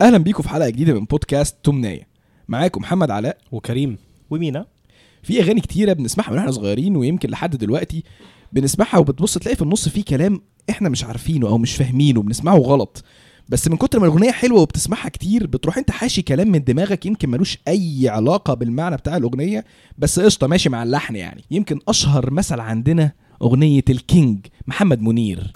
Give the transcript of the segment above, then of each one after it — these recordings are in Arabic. اهلا بيكم في حلقه جديده من بودكاست تمنيه معاكم محمد علاء وكريم ومينا في اغاني كتيره بنسمعها من احنا صغيرين ويمكن لحد دلوقتي بنسمعها وبتبص تلاقي في النص فيه كلام احنا مش عارفينه او مش فاهمينه بنسمعه غلط بس من كتر ما الاغنيه حلوه وبتسمعها كتير بتروح انت حاشي كلام من دماغك يمكن ملوش اي علاقه بالمعنى بتاع الاغنيه بس قشطه ماشي مع اللحن يعني يمكن اشهر مثل عندنا اغنيه الكينج محمد منير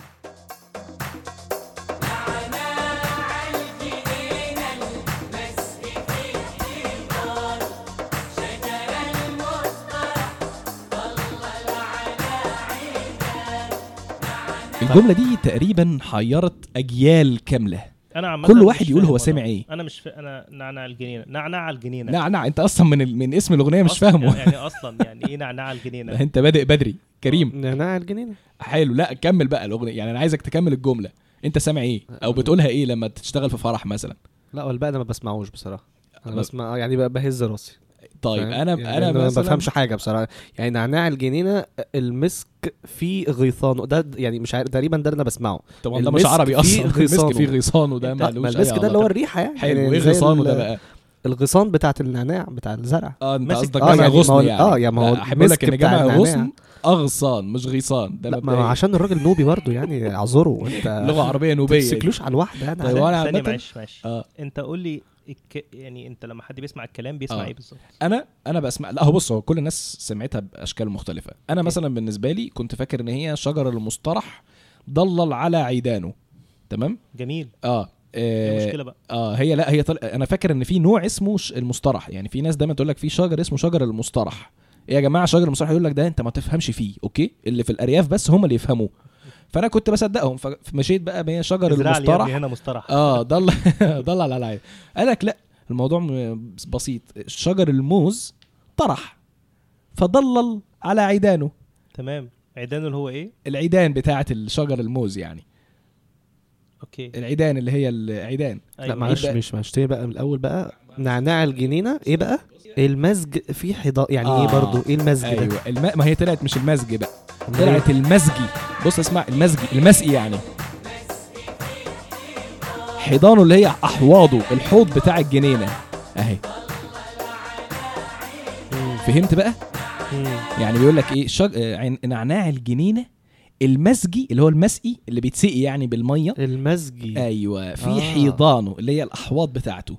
الجمله دي تقريبا حيرت اجيال كامله انا عامة كل مش واحد يقول فاهم هو والله. سامع ايه انا مش ف... انا نعناع الجنينه نعناع الجنينه نعنع انت اصلا من ال- من اسم الاغنيه مش أصلاً فاهمه يعني اصلا يعني ايه نعناع الجنينه انت بادئ بدري كريم نعناع الجنينه آه. حلو لا كمل بقى الاغنيه يعني انا عايزك تكمل الجمله انت سامع ايه آه. او بتقولها ايه لما تشتغل في فرح مثلا لا والباقي انا ما بسمعوش بصراحه انا أما- بسمع يعني ب- بهز راسي طيب فاهم؟ انا يعني انا ما مثلا بفهمش حاجه بصراحه يعني نعناع الجنينه المسك في غيثانه ده يعني مش عارف تقريبا ده اللي انا بسمعه طبعا ده مش المسك عربي فيه اصلا المسك غيصانه. فيه غيصانه ده لا، مالوش ما أي المسك ده اللي هو علاقة. الريحه يعني أيوة، حلو يعني وايه زي غيصانه ده ال- بقى الغيصان بتاعت النعناع بتاع الزرع اه انت ماسك- قصدك جمع آه، يعني ما هو- غصن يعني آه، يعني ما هو لا، احب اقول لك ان المسك بتاع جمع النعناع. غصن اغصان مش غيصان ده لا ما هو مبدئيا عشان الراجل نوبي برضه يعني اعذره انت لغه عربيه ما نوبيه دي. تمسكلوش على الواحده يعني طيب على- وانا ثانيه عامه معلش معلش آه. انت قول لي الك... يعني انت لما حد بيسمع الكلام بيسمع آه. ايه بالظبط انا انا بسمع لا هو بص هو كل الناس سمعتها باشكال مختلفه انا مثلا بالنسبه لي كنت فاكر ان هي شجر المصطلح ضلل على عيدانه تمام جميل اه ايه آه، المشكله بقى اه هي لا هي طل... انا فاكر ان في نوع اسمه ش... المصطلح يعني في ناس دايما تقول لك في شجر اسمه شجر المصطلح إيه يا جماعه شجر المصطلح يقول لك ده انت ما تفهمش فيه اوكي اللي في الارياف بس هم اللي يفهموه فانا كنت بصدقهم ف- فمشيت بقى بين شجر ازرع لي يا المصطلح ابني هنا مصطلح اه ضل ضل على العين قال لك لا الموضوع م- بسيط شجر الموز طرح فضلل على عيدانه تمام عيدان اللي هو ايه العيدان بتاعه الشجر الموز يعني اوكي العيدان اللي هي العيدان لا أيوة. معلش إيه بقى؟ مش معلش تاني بقى من الاول بقى نعناع الجنينه ايه بقى المزج في حضا يعني ايه آه، برضه ايه المزج ده إيه؟ ايوه الم... ما هي طلعت مش المزج بقى طلعت المزجي بص اسمع المزجي المسقي يعني حيضانه اللي هي احواضه الحوض بتاع الجنينه اهي فهمت بقى مم. يعني بيقول لك ايه شج... آه، عن- نعناع الجنينه المسجي اللي هو المسقي اللي بيتسقي يعني بالميه المزجي ايوه في آه. حيضانه اللي هي الاحواض بتاعته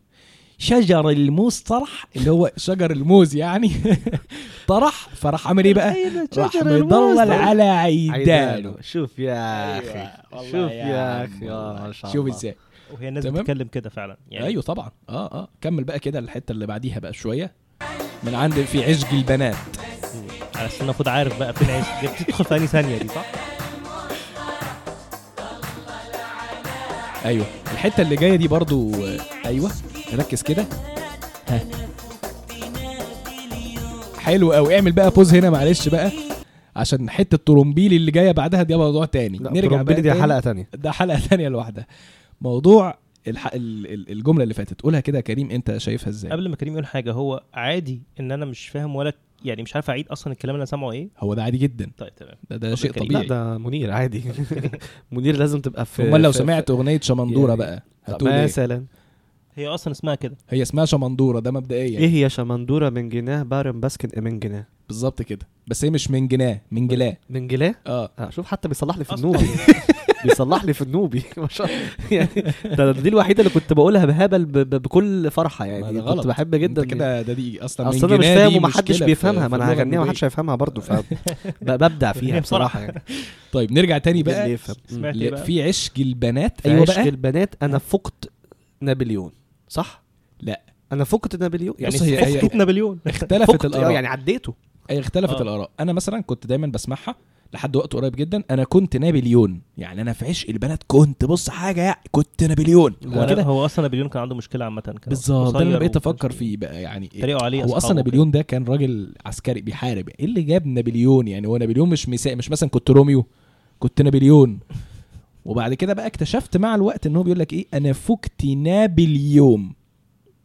شجر الموز طرح اللي هو شجر الموز يعني طرح فراح عامل ايه أيوة، بقى؟ راح مضلل على عيدانه شوف يا اخي أيوة، والله شوف يا يا اخي عم. ما شاء شوف الله. ازاي وهي الناس تمام. بتتكلم كده فعلا يعني ايوه طبعا اه اه كمل بقى كده الحته اللي بعديها بقى شويه من عند في عشق البنات على اساس المفروض عارف بقى فين عايز دي بتدخل في أنهي ثانيه دي صح ايوه الحته اللي جايه دي برضو آه، ايوه ركز كده ها. حلو قوي اعمل بقى بوز هنا معلش بقى عشان حته الطرمبيلي اللي جايه بعدها دي موضوع تاني لا نرجع بقى نرجع دي تاني. حلقه تانية ده حلقه تانية لوحدها موضوع الح... ال- ال- الجمله اللي فاتت قولها كده يا كريم انت شايفها ازاي قبل ما كريم يقول حاجه هو عادي ان انا مش فاهم ولا يعني مش عارف اعيد اصلا الكلام اللي انا سامعه ايه هو ده عادي جدا طيب تمام ده, ده شيء كريم. طبيعي لا ده منير عادي منير لازم تبقى في امال لو في- سمعت اغنيه شمندوره يعني- بقى في- هتقول ايه مثلا هي اصلا اسمها كده هي اسمها شمندوره ده مبدئيا ايه يا شمندوره من جناه بارم باسكن من جناه بالظبط كده بس هي مش من جناه طيب. من جلاه من جلاه اه آه، شوف حتى بيصلح لي في أصلاً. النوبي بيصلح لي في النوبي ما شاء الله يعني ده دي الوحيده اللي كنت بقولها بهبل ب- ب- بكل فرحه ما يعني ده كنت بحب جدا انت كده ده دي اصلا من اصل انا مش جناه فاهم دي مشكلة ومحدش في- بيفهمها في ما انا اللغة هغنيها ومحدش النوبية. هيفهمها برضه فببدع فيها بصراحه يعني طيب نرجع تاني اللي بقى يفهم سمعت ايه ل- بقى في عشق البنات ايوه ايوه بقى بقى البنات انا فقت نابليون صح؟ لا. انا فقت نابليون يعني بص هي- هي- فقت نابليون اختلفت فقت آه، الاراء يعني عديته أي اختلفت آه. الاراء انا مثلا كنت دايما بسمعها لحد وقت قريب جدا انا كنت نابليون يعني انا في عشق البنات كنت بص حاجه يعني كنت نابليون هو هو كده هو اصلا نابليون كان عنده مشكله عامه كان بالظبط ده قصير انا بقيت وكان افكر فيه بقى يعني إيه؟ اتريقوا عليه هو اصلا أصحابه نابليون ده كان راجل عسكري بيحارب ايه اللي جاب نابليون يعني هو نابليون مش مساء مش مثلا كنت روميو كنت نابليون وبعد كده بقى اكتشفت مع الوقت ان هو بيقول لك ايه انا فكت نابليوم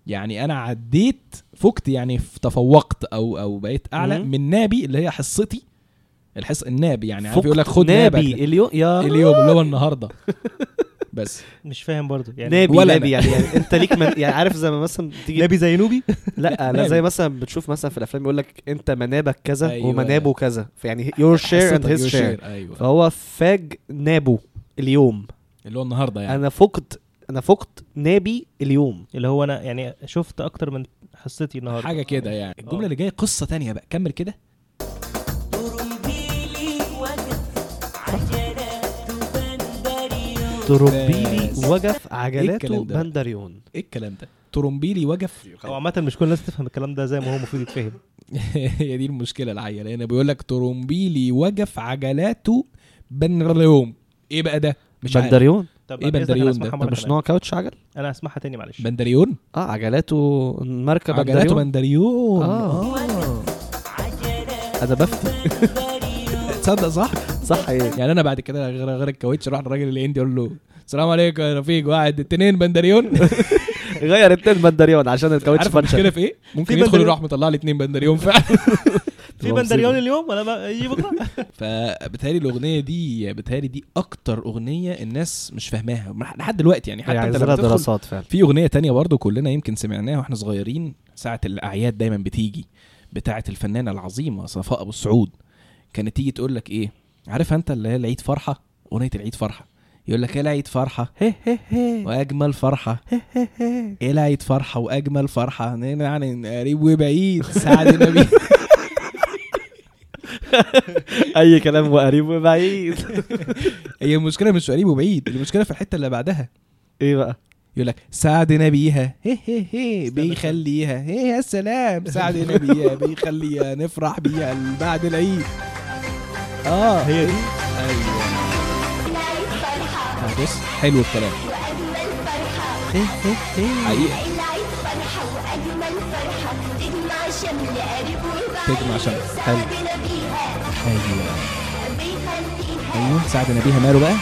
يعني انا عديت فكت يعني ف- تفوقت او او بقيت اعلى مم. من نابي اللي هي حصتي الحص النابي يعني عارف فقت يقول لك خد نابي نابي اليوم يا اليوم اللي هو النهارده بس مش فاهم برضه يعني نبي ولا نبي يعني, يعني انت ليك من يعني عارف زي ما مثلا تيجي نبي زي نوبي لا لا نبي. زي مثلا بتشوف مثلا في الافلام يقول لك انت منابك كذا أيوة. أيوة. ومنابه كذا يعني فيعني يور شير اند هيز شير ايوه فهو فاج نابه اليوم اللي هو النهارده يعني انا فقت انا فقت نابي اليوم اللي هو انا يعني شفت اكتر من حصتي النهارده حاجه كده يعني الجمله اللي جايه قصه تانية بقى كمل كده ترمبيلي وقف عجلات بندريون ترومبيلي بس. وقف عجلاته إيه الكلام ده؟ بندريون ايه الكلام ده ترومبيلي وجف هو عامة مش كل الناس تفهم الكلام ده زي ما هو المفروض يتفهم هي دي المشكله العيله هنا بيقول لك ترومبيلي وجف عجلاته بنرليوم ايه بقى ده مش عارف بندريون طب إيه بإذنك أنا بندريون هسمعها ده؟ مرة ده مش كمان. نوع كاوتش عجل انا هسمعها تاني معلش بندريون اه عجلاته ماركه عجلاته بندريون بندريون آه. آه. انا بفتي تصدق صح صح ايه يعني انا بعد كده غير غير الكاوتش اروح للراجل الهندي اقول له السلام عليكم يا رفيق واحد اتنين بندريون غير التاني بندريون عشان الكاوتش عارف فانشر المشكله في ايه ممكن في يدخل بندريون. يروح مطلع لي اتنين بندريون فعلا في بندريون اليوم ولا ما يجي بكره فبالتالي الاغنيه دي بالتالي دي اكتر اغنيه الناس مش فاهماها لحد دلوقتي يعني حتى يعني انت عايز لما لها تدخل دراسات فعلا في اغنيه تانية برضو كلنا يمكن سمعناها واحنا صغيرين ساعه الاعياد دايما بتيجي بتاعه الفنانه العظيمه صفاء ابو السعود كانت تيجي تقول لك ايه عارف انت اللي هي العيد فرحه اغنيه العيد فرحه يقول لك ايه العيد فرحه واجمل فرحه ايه العيد فرحه واجمل فرحه يعني قريب وبعيد سعد النبي اي كلام وقريب وبعيد هي المشكله مش قريب وبعيد المشكله في الحته اللي بعدها ايه بقى يقول لك سعد نبيها هي هي هي بيخليها هي يا سلام سعد نبيها بيخليها نفرح بيها بعد العيد اه هي دي ايوه آه، بص حلو الكلام هي هي هي. حقيقة تجمع شمل حلو ايوه ايوه سعد نبيها ماله بقى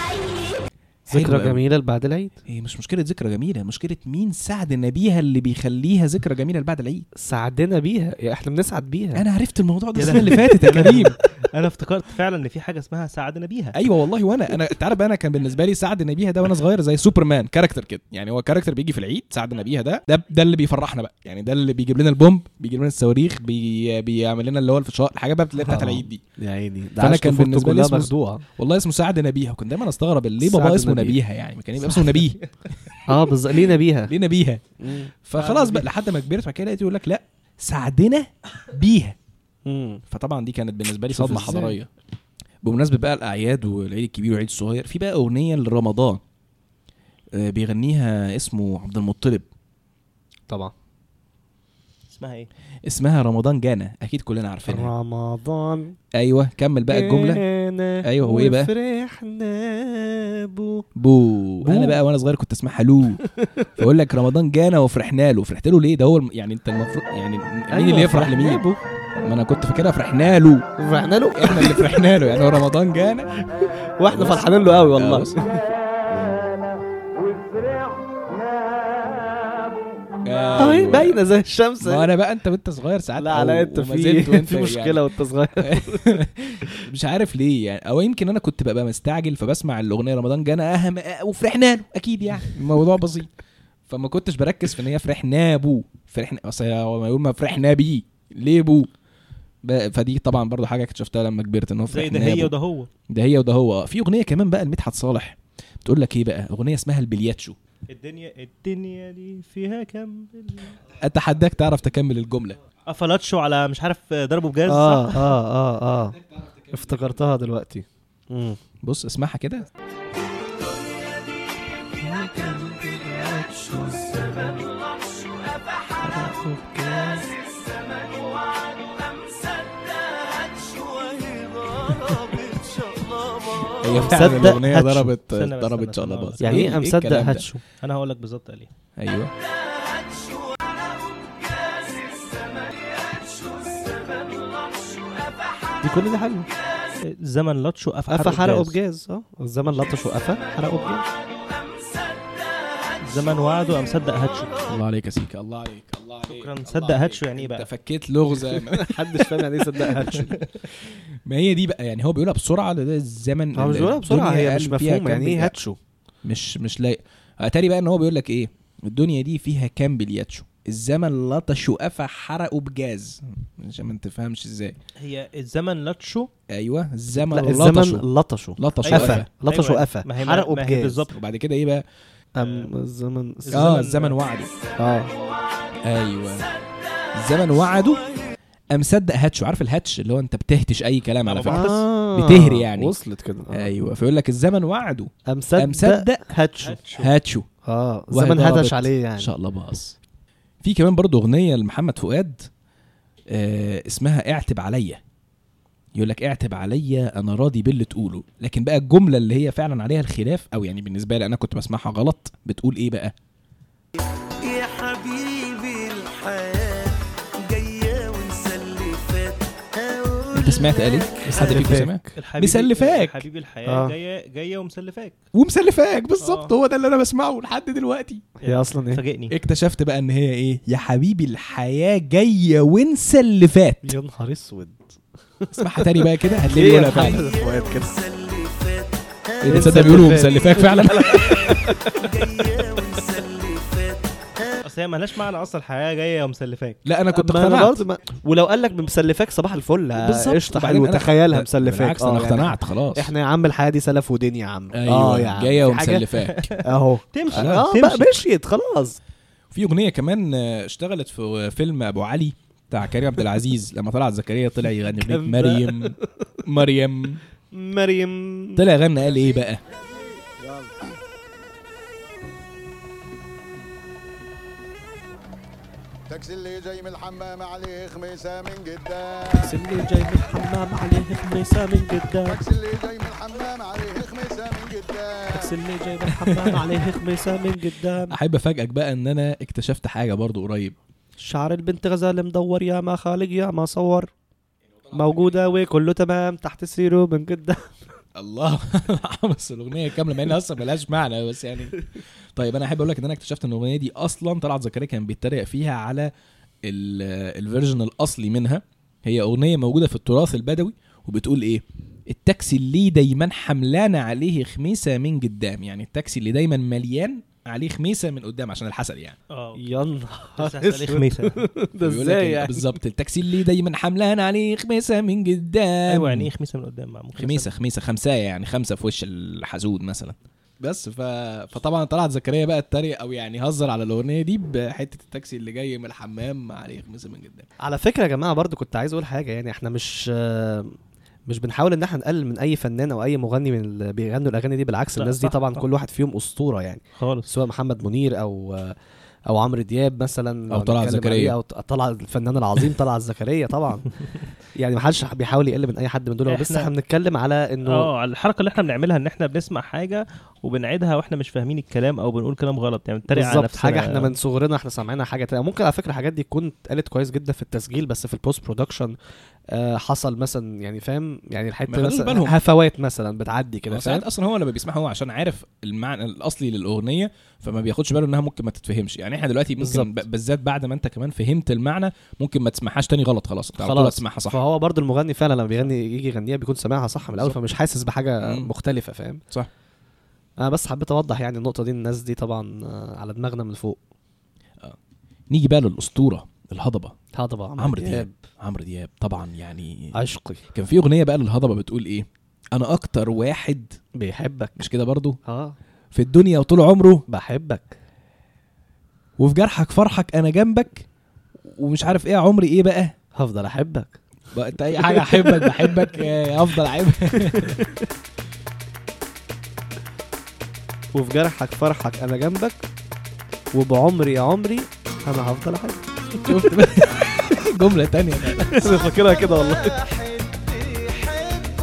حلو ذكرى أوي. جميله بعد العيد هي مش مشكله ذكرى جميله مشكله مين سعد نبيها اللي بيخليها ذكرى جميله بعد العيد سعدنا بيها يا احنا بنسعد بيها انا عرفت الموضوع ده السنه اللي فاتت يا كريم انا افتكرت فعلا ان في حاجه اسمها سعدنا بيها ايوه والله وانا انا انت عارف بقى انا كان بالنسبه لي سعد نبيها ده وانا صغير زي سوبرمان كاركتر كده يعني هو كاركتر بيجي في العيد سعد نبيها ده ده ده اللي بيفرحنا بقى يعني ده اللي بيجيب لنا البومب بيجيب لنا الصواريخ بي بيعمل لنا اللي هو الفشار الحاجه بقى اللي بتاعت آه. العيد دي يا عيني ده فأنا عشت كان طفولته بالنسبة لي كلها اسمه- مخدوعه والله اسمه سعد نبيها كنت دايما استغرب ليه بابا سعد اسمه نبيها. نبيها يعني ما كان يبقى اسمه نبيه اه بالظبط لينا بيها ليه نبيها فخلاص بقى لحد ما كبرت بعد كده لقيت يقول لك لا سعدنا بيها مم. فطبعا دي كانت بالنسبه لي شوف صدمه إزاي. حضاريه بمناسبه بقى الاعياد والعيد الكبير والعيد الصغير في بقى اغنيه لرمضان آه، بيغنيها اسمه عبد المطلب طبعا اسمها ايه اسمها رمضان جانا اكيد كلنا عارفينها رمضان ايوه كمل بقى الجمله أنا أيوة، هو إيه بقى؟ وفرحنا بو بو بو. انا بقى وانا صغير كنت اسمعها لو فيقول لك رمضان جانا وفرحنا له فرحت له ليه ده هو الم- يعني انت المفروض يعني مين أيوه، اللي يفرح لمين ما انا كنت فاكرها فرحنا له فرحنا له احنا اللي فرحنا له يعني هو رمضان جانا واحنا فرحانين له قوي آه، والله اه هي ايوه باينه زي الشمس ما انا بقى انت وانت صغير ساعات لا أو- على انت وما زلت في وأنت في مشكله وانت صغير يعني مش عارف ليه يعني او يمكن انا كنت ببقى مستعجل فبسمع الاغنيه رمضان جانا اهم أه- وفرحنا له اكيد يعني الموضوع بسيط فما كنتش بركز في ان هي فرحنا بو فرحنا اصل هو ما يقول ما فرحنا بيه ليه بو ب- فدي طبعا برضو حاجه اكتشفتها لما كبرت ان هو زي فرحنا ده هي بو. وده هو ده هي وده هو في اغنيه كمان بقى لمدحت صالح بتقول لك ايه بقى اغنيه اسمها البلياتشو الدنيا الدنيا دي فيها كم بال- اتحداك تعرف تكمل الجمله افلاتشو على مش عارف ضربه بجاز آه، اه صح اه اه اه افتكرتها دلوقتي بص اسمعها كده هي فعلا مصدق الاغنيه هاتشو. ضربت استنى بس، ضربت استنى، استنى شلبات بس. يعني ايه مصدق إيه، الكلام ده؟ هاتشو انا هقول لك بالظبط عليه ايوه دي كل دي حلوه زمن لطشو قفا قفا حرقه حرقه بجاز بجاز اه الزمن لطش وقفا حرقه بجاز زمن وعده قام صدق هاتشو الله عليك يا سيكا الله عليك الله عليك شكراً. الله صدق عليك. هاتشو يعني إيه بقى؟ انت فكيت لغزه محدش فاهم يعني ايه صدق هاتشو ما هي دي بقى يعني هو بيقولها بسرعه لده الزمن هو مش بيقولها بسرعه الدنيا هي مش قال فيها مفهومه كام يعني بالياء. ايه هاتشو مش مش لايق اتاري بقى ان هو بيقول لك ايه الدنيا دي فيها كام بالياتشو الزمن لطشوا قفا حرقوا بجاز عشان ما تفهمش ازاي هي الزمن لاتشو ايوه الزمن لا لطشوا الزمن لطشوا لطشوا أيوة. قفا قفا لطشوا أيوة. قفا ما هي- حرقوا ما هي بجاز بالظبط. وبعد كده ايه بقى أم الزمن اه الزمن- الزمن وعده اه ايوه الزمن وعده قام صدق هاتشو عارف الهاتش اللي هو انت بتهتش اي كلام على فكره آه. بتهري يعني. وصلت كده آه. ايوه فيقول لك الزمن وعده أم صدق أم صدق هاتشو هاتشو هاتشو اه وهي زمن ضربت. هدش عليه ان يعني شاء الله باص في كمان برضه اغنيه لمحمد فؤاد آه اسمها اعتب عليا يقول لك اعتب عليا انا راضي باللي تقوله لكن بقى الجمله اللي هي فعلا عليها الخلاف او يعني بالنسبه لي انا كنت بسمعها غلط بتقول ايه بقى يا حبيبي الحياة جاية ونسلفات انت سمعت قال ايه بس حد فيكم سمع الحبيب مسلفاك. حبيب الحياه آه. جايه جايه ومسلفاك ومسلفاك بالظبط آه. هو ده اللي انا بسمعه لحد دلوقتي هي أصلاً إيه؟ فاجئني اكتشفت بقى ان هي ايه يا حبيبي الحياه جايه وانسى اللي فات يا نهار اسود اسمعها تاني بقى كده هتلاقي بيقولها فعلا فؤاد كده ونسلفات ايه ده تصدق بيقولوا مسلفاك فعلا جاية ونسلفات اصل هي مالهاش معنى اصلا الحياه جايه ومسلفاك لا انا كنت ما أنا اقتنعت برضه ما... ولو قال لك مسلفاك صباح الفل آه، بالظبط. قشطه وبعدين حلو أنا- تخيلها لا، مسلفاك بالعكس انا اه يعني اقتنعت خلاص احنا يا عم الحياه دي سلف ودين يا عم ايوه اه يا عم جايه في حاجة؟ ومسلفاك اهو تمشي اه تمشي. بقى مشيت خلاص في اغنيه كمان آه، اشتغلت في فيلم ابو علي بتاع كريم عبد العزيز لما طلعت زكريا طلع يغني اغنيه كان بقى. مريم مريم مريم طلع غنى قال ايه بقى تاكسي اللي جاي من الحمام عليه خميسه من جده اللي جاي من الحمام عليه خميسه من جده تاكسي اللي جاي من الحمام عليه خميسه من جده اللي جاي من الحمام عليه خميسه من جده احب افاجئك بقى ان انا اكتشفت حاجه برضو قريب شعر البنت غزال مدور يا ما خالق يا ما صور موجودة وكله تمام تحت سيرو من جدة الله بس الاغنيه كامله مع انها اصلا ملهاش معنى بس يعني طيب انا احب اقول لك ان انا اكتشفت ان الاغنيه دي اصلا طلعت زكريا كان بيتريق فيها على ال- الفيرجن الاصلي منها هي اغنيه موجوده في التراث البدوي وبتقول ايه التاكسي اللي دايما حملان عليه خميسه من قدام يعني التاكسي اللي دايما مليان عليه خميسه من قدام عشان الحسد يعني اه يا نهار بس هسأل إيه خميسه ده بيقول لك ازاي إن- يعني بالظبط التاكسي اللي دايما حملان عليه خميسه من قدام ايوه يعني ايه خميسه من قدام معمول خميسه خميسه خمسايه يعني خمسه في وش الحسود مثلا بس ف... فطبعا طلعت زكريا بقى اتريق او يعني هزر على الاغنيه دي بحته التاكسي اللي جاي من الحمام عليه خميسه من جدا على فكرة يا جماعة برضو كنت عايز اقول حاجة يعني احنا مش آه، مش بنحاول ان احنا نقلل من اي فنان او اي مغني من اللي بيغنوا الاغاني دي بالعكس لا، الناس دي صح، طبعا صح. كل واحد فيهم اسطورة يعني خالص سواء محمد منير او او عمرو دياب مثلا لو أو طلعت هنتكلم زكريا. عليه، او طلعت الفنان العظيم طلعت زكريا طبعا يعني ما حدش بيحاول يقل من اي حد من دول بس إحنا- احنا بنتكلم على انه اه على الحركه اللي احنا بنعملها ان احنا بنسمع حاجه وبنعيدها واحنا مش فاهمين الكلام او بنقول كلام غلط يعني بنتريق على بالظبط نفسنا حاجه احنا من صغرنا احنا سامعينها حاجه تانية ممكن على فكره الحاجات دي تكون اتقالت كويس جدا في التسجيل بس في البوست برودكشن آه حصل مثلا يعني فاهم يعني ما الحته خدوش بالهم. مثلا هفوات مثلا بتعدي كده كده فاهم ساعات اصلا هو لما بيسمعها هو عشان عارف المعنى الاصلي للاغنيه فما بياخدش باله انها ممكن ما تتفهمش يعني احنا دلوقتي بالظبط. ممكن ب- بالذات بعد ما انت كمان فهمت المعنى ممكن ما تسمعهاش تاني غلط خلاص انت على طول خلاص. هتسمعها صح فهو برضو المغني فعلا لما بيغني يجي يغنيها بيكون سامعها صح من الاول بالظبط. فمش حاسس بحاجه مم. مختلفه فاهم صح. انا بس حبيت اوضح يعني النقطه دي الناس دي طبعا آه، على دماغنا من فوق نيجي بقى للاسطوره الهضبه ها طبعا عمرو دياب عمرو دياب طبعا يعني عشقي كان في اغنيه بقى للهضبه بتقول ايه انا اكتر واحد بيحبك مش كده برضو اه في الدنيا وطول عمره بحبك وفي جرحك فرحك انا جنبك ومش عارف ايه عمري ايه بقى هفضل احبك بقى انت اي حاجه احبك بحبك آه، افضل احبك وفي جرحك فرحك انا جنبك وبعمري يا عمري انا هفضل احبك شفت بقى؟ جمله تانية بقى. انا فاكرها كده والله واحد بيحبك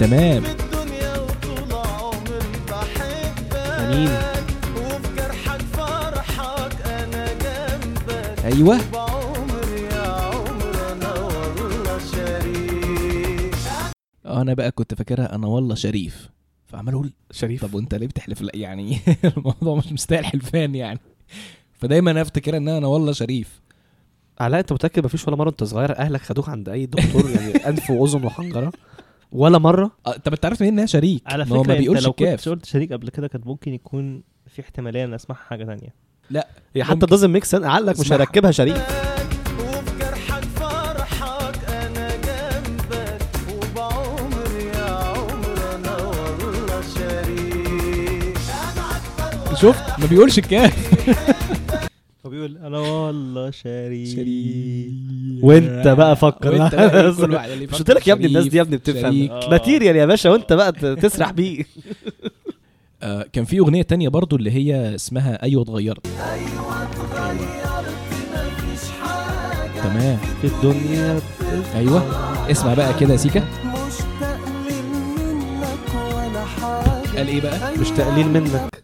تمام في الدنيا وطول عمري بحبك امين وفي جرحك فرحك انا جنبك ايوه بعمري يا عمر انا والله شريك انا بقى كنت فاكرها انا والله شريف فعمال اقول شريف طب وانت ليه بتحلف لا يعني الموضوع مش مستاهل حلفان يعني فدايما انا افتكر ان انا والله شريف علاء انت متاكد مفيش ولا مره وانت صغير اهلك خدوك عند اي دكتور يعني انف واذن وحنجره ولا مره آه، طب انت عارف منين ان انا شريك على ما هو فكره ما انت بيقولش لو كنت الكاف قلت شريك قبل كده كان ممكن يكون في احتماليه ان اسمعها حاجه تانية هي يعني حتى دازنت ميك سنس عقلك مش اسمعها. هيركبها شريف وفي جرحك فرحك انا جنبك وبعمر يا عمر انا والله شريك شفت ما بيقولش الكاف هو بيقول انا والله شريك وانت بقى فكر وانت بقى كل واحد اللي مش قلت لك يا ابني الناس شريف، دي يا ابني بتفهم شريك. آه. ماتيريال يا باشا وانت بقى ت- تسرح بيه آه، كان في اغنيه تانية برضو اللي هي اسمها ايوه اتغيرت تمام في الدنيا ايوه اسمع بقى كده يا سيكا مشتاق لي منك ولا حاجه قال ايه بقى مش تقليل منك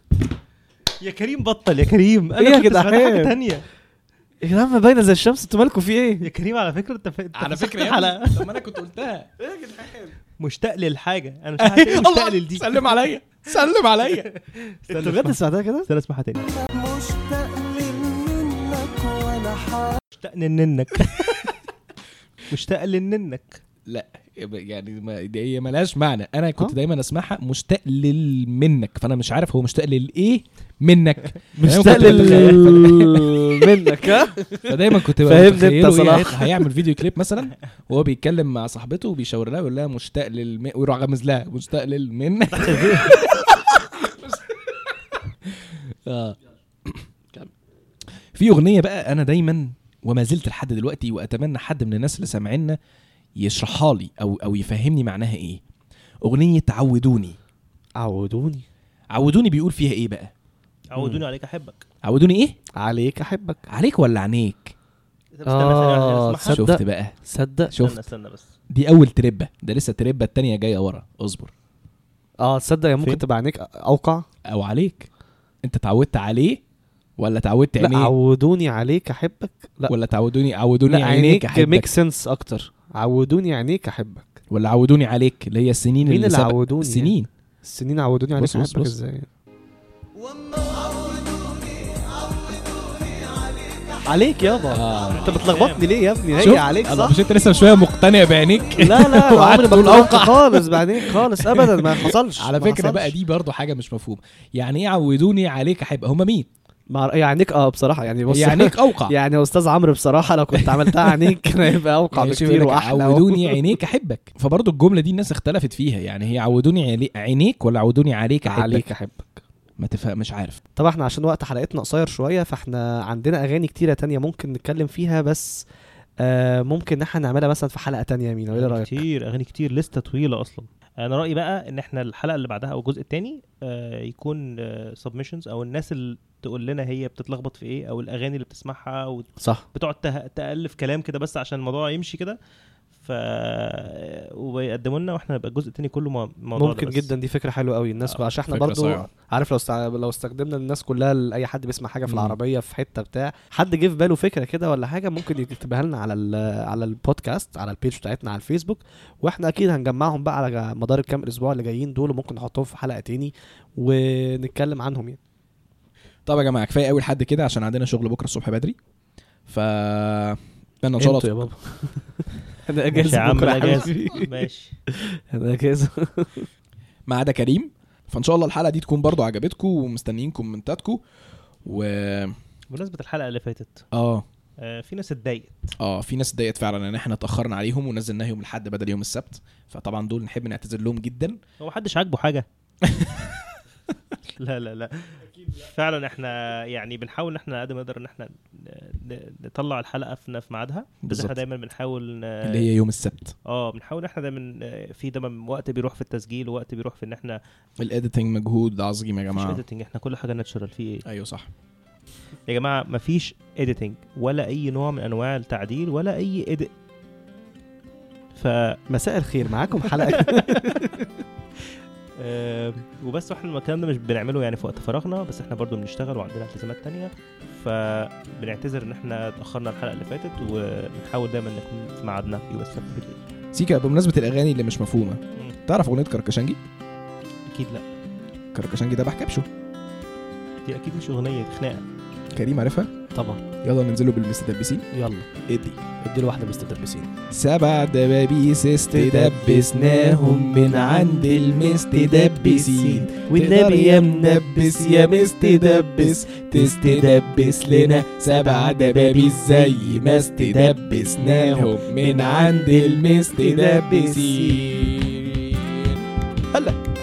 يا كريم بطل يا كريم إيه انا يا كنت جدعان؟ سمعت حاجه تانية يا جدعان ما باينه زي الشمس انتوا مالكم في يا ايه؟ كريم على فكره انت انت على فسخت فكره يا الحلقة. ابني، طب ما انا كنت قلتها مشتاق للحاجه انا مش عارف إيه مشتاق للدي سلم عليا سلم عليا انت بجد سمعتها كده؟ استنى اسمعها تاني مشتاق لي منك ولا حاجه مشتاق لننك مشتاق لننك لا يعني ما دي هي ملهاش معنى انا كنت آه. دايما اسمعها مشتاق لل منك فانا مش عارف هو مشتاق للايه منك يعني مشتاق كنت لل بتخيل. منك ها؟ فدايما كنت فاهمني انت متخيله ايه صلاح. هيط- هيعمل فيديو كليب مثلا وهو بيتكلم مع صاحبته وبيشاور لها ويقول لها مشتاق للم ويروح غامز لها مشتاق للمنك آه. في اغنيه بقى انا دايما وما زلت لحد دلوقتي واتمنى حد من الناس اللي سامعينا يشرحها لي او او يفهمني معناها ايه اغنيه عودوني عودوني عودوني بيقول فيها ايه بقى عودوني عليك احبك عودوني ايه عليك احبك عليك ولا عنيك طب استنى ثانية واحدة، آه، اسمعها. تصدق. شفت بقى صدق استنى شفت استنى بس دي اول تربه ده لسه التربه التانية جايه ورا اصبر اه تصدق يا ممكن فين؟ تبقى عينيك اوقع او عليك انت اتعودت عليه ولا اتعودت لا عينيه عودوني عليك احبك لا ولا تعودوني إيه؟ عودوني لا عينيك عينيك احبك ميك سنس اكتر عودوني عينيك احبك ولا عودوني عليك اللي هي السنين مين اللي سبق- عودوني يعني؟ السنين السنين عودوني عليك بص- بص- احبك بص. ازاي واما عودوني عليك يابا اه انت بتلخبطني ليه يا ابني شوف؟ هي عليك الله صح مش انت لسه من شويه مقتنع بعينيك لا لا انا وقعدت عمري ما تقول كنت أوقع. أوقع خالص بعدين خالص ابدا ما حصلش على ما فكره بقى حصلش. دي برضو حاجه مش مفهومه يعني ايه عودوني عليك احب هما مين إيه مع هي عينيك اه بصراحه يعني بص هي عينيك اوقع يعني يا استاذ عمرو بصراحه لو كنت عملتها عينيك كان هيبقى اوقع يعني شوف بكتير يقولك واحلى عودوني يعني. عينيك احبك فبرضو الجمله دي الناس اختلفت فيها يعني هي عودوني علي- عينيك ولا عودوني عليك احبك عليك احبك ما تفهم مش عارف طبعا احنا عشان وقت حلقتنا قصير شويه فاحنا عندنا اغاني كتيره تانية ممكن نتكلم فيها بس آه ممكن ان احنا نعملها مثلا في حلقه تانية يا مينا ايه رايك كتير اغاني كتير لسته طويله اصلا انا رايي بقى ان احنا الحلقه اللي بعدها او الجزء الثاني يكون سبمشنز او الناس اللي تقول لنا هي بتتلخبط في ايه او الاغاني اللي بتسمعها وت- صح بتقعد ته- تالف كلام كده بس عشان الموضوع يمشي كده ف آه، ويقدموا لنا واحنا نبقى الجزء الثاني كله مو- موضوع ده ممكن بس. جدا دي فكره حلوه قوي الناس عشان احنا فكرة برضو صايعة. عارف لو استع... لو استخدمنا الناس كلها لاي حد بيسمع حاجه في مم. العربيه في حته بتاع حد جه في باله فكره كده ولا حاجه ممكن يكتبها لنا على ال... على البودكاست على البيج بتاعتنا على الفيسبوك واحنا اكيد هنجمعهم بقى على جا- مدار الكام اسبوع اللي جايين دول وممكن نحطهم في حلقه تاني ونتكلم عنهم يعني طب يا جماعه كفايه قوي لحد كده عشان عندنا شغل بكره الصبح بدري ف اتمنى ان شاء انتوا الله يا بابا انا ماشي اجازه يا عم بكرة يا أنا حبيبي. جاهز ماشي انا اجازه ما عدا كريم فان شاء الله الحلقه دي تكون برضو عجبتكم ومستنيين كومنتاتكم و بمناسبه الحلقه اللي فاتت اه آه، في ناس اتضايقت اه في ناس اتضايقت فعلا ان احنا اتاخرنا عليهم ونزلنا يوم الاحد بدل يوم السبت فطبعا دول نحب نعتذر لهم جدا هو محدش عاجبه حاجه لا لا لا فعلا احنا يعني بنحاول ان احنا قد ما نقدر ان احنا ن- نطلع الحلقه في في ميعادها بس احنا بالظبط. دايما بنحاول ن- اللي هي يوم السبت اه بنحاول احنا دايما آه، في دايما وقت بيروح في التسجيل ووقت بيروح في ان احنا الايديتنج مجهود عظيم يا مفيش جماعه اديتنج احنا كل حاجه ناتشورال في ايه ايوه صح يا جماعه مفيش اديتنج ولا اي نوع من انواع التعديل ولا اي اديت ف مساء الخير معاكم حلقه آه، وبس احنا الكلام ده مش بنعمله يعني في وقت فراغنا بس احنا برضو بنشتغل وعندنا التزامات تانية فبنعتذر ان احنا اتاخرنا الحلقه اللي فاتت وبنحاول دايما نكون في ميعادنا في يوم السبت بالليل سيكا بمناسبه الاغاني اللي مش مفهومه تعرف اغنيه كركشنجي اكيد لا كركشنجي ده بحكبشه دي اكيد مش اغنيه دي خناقه كريم عارفها طبعا يلا ننزله بالمستدبسين يلا ادي اديله واحده مستدبسين سبع دبابيس استدبسناهم من عند المستدبسين والنبي يا منبس يا مستدبس تستدبس لنا سبع دبابيس زي ما استدبسناهم من عند المستدبسين هلا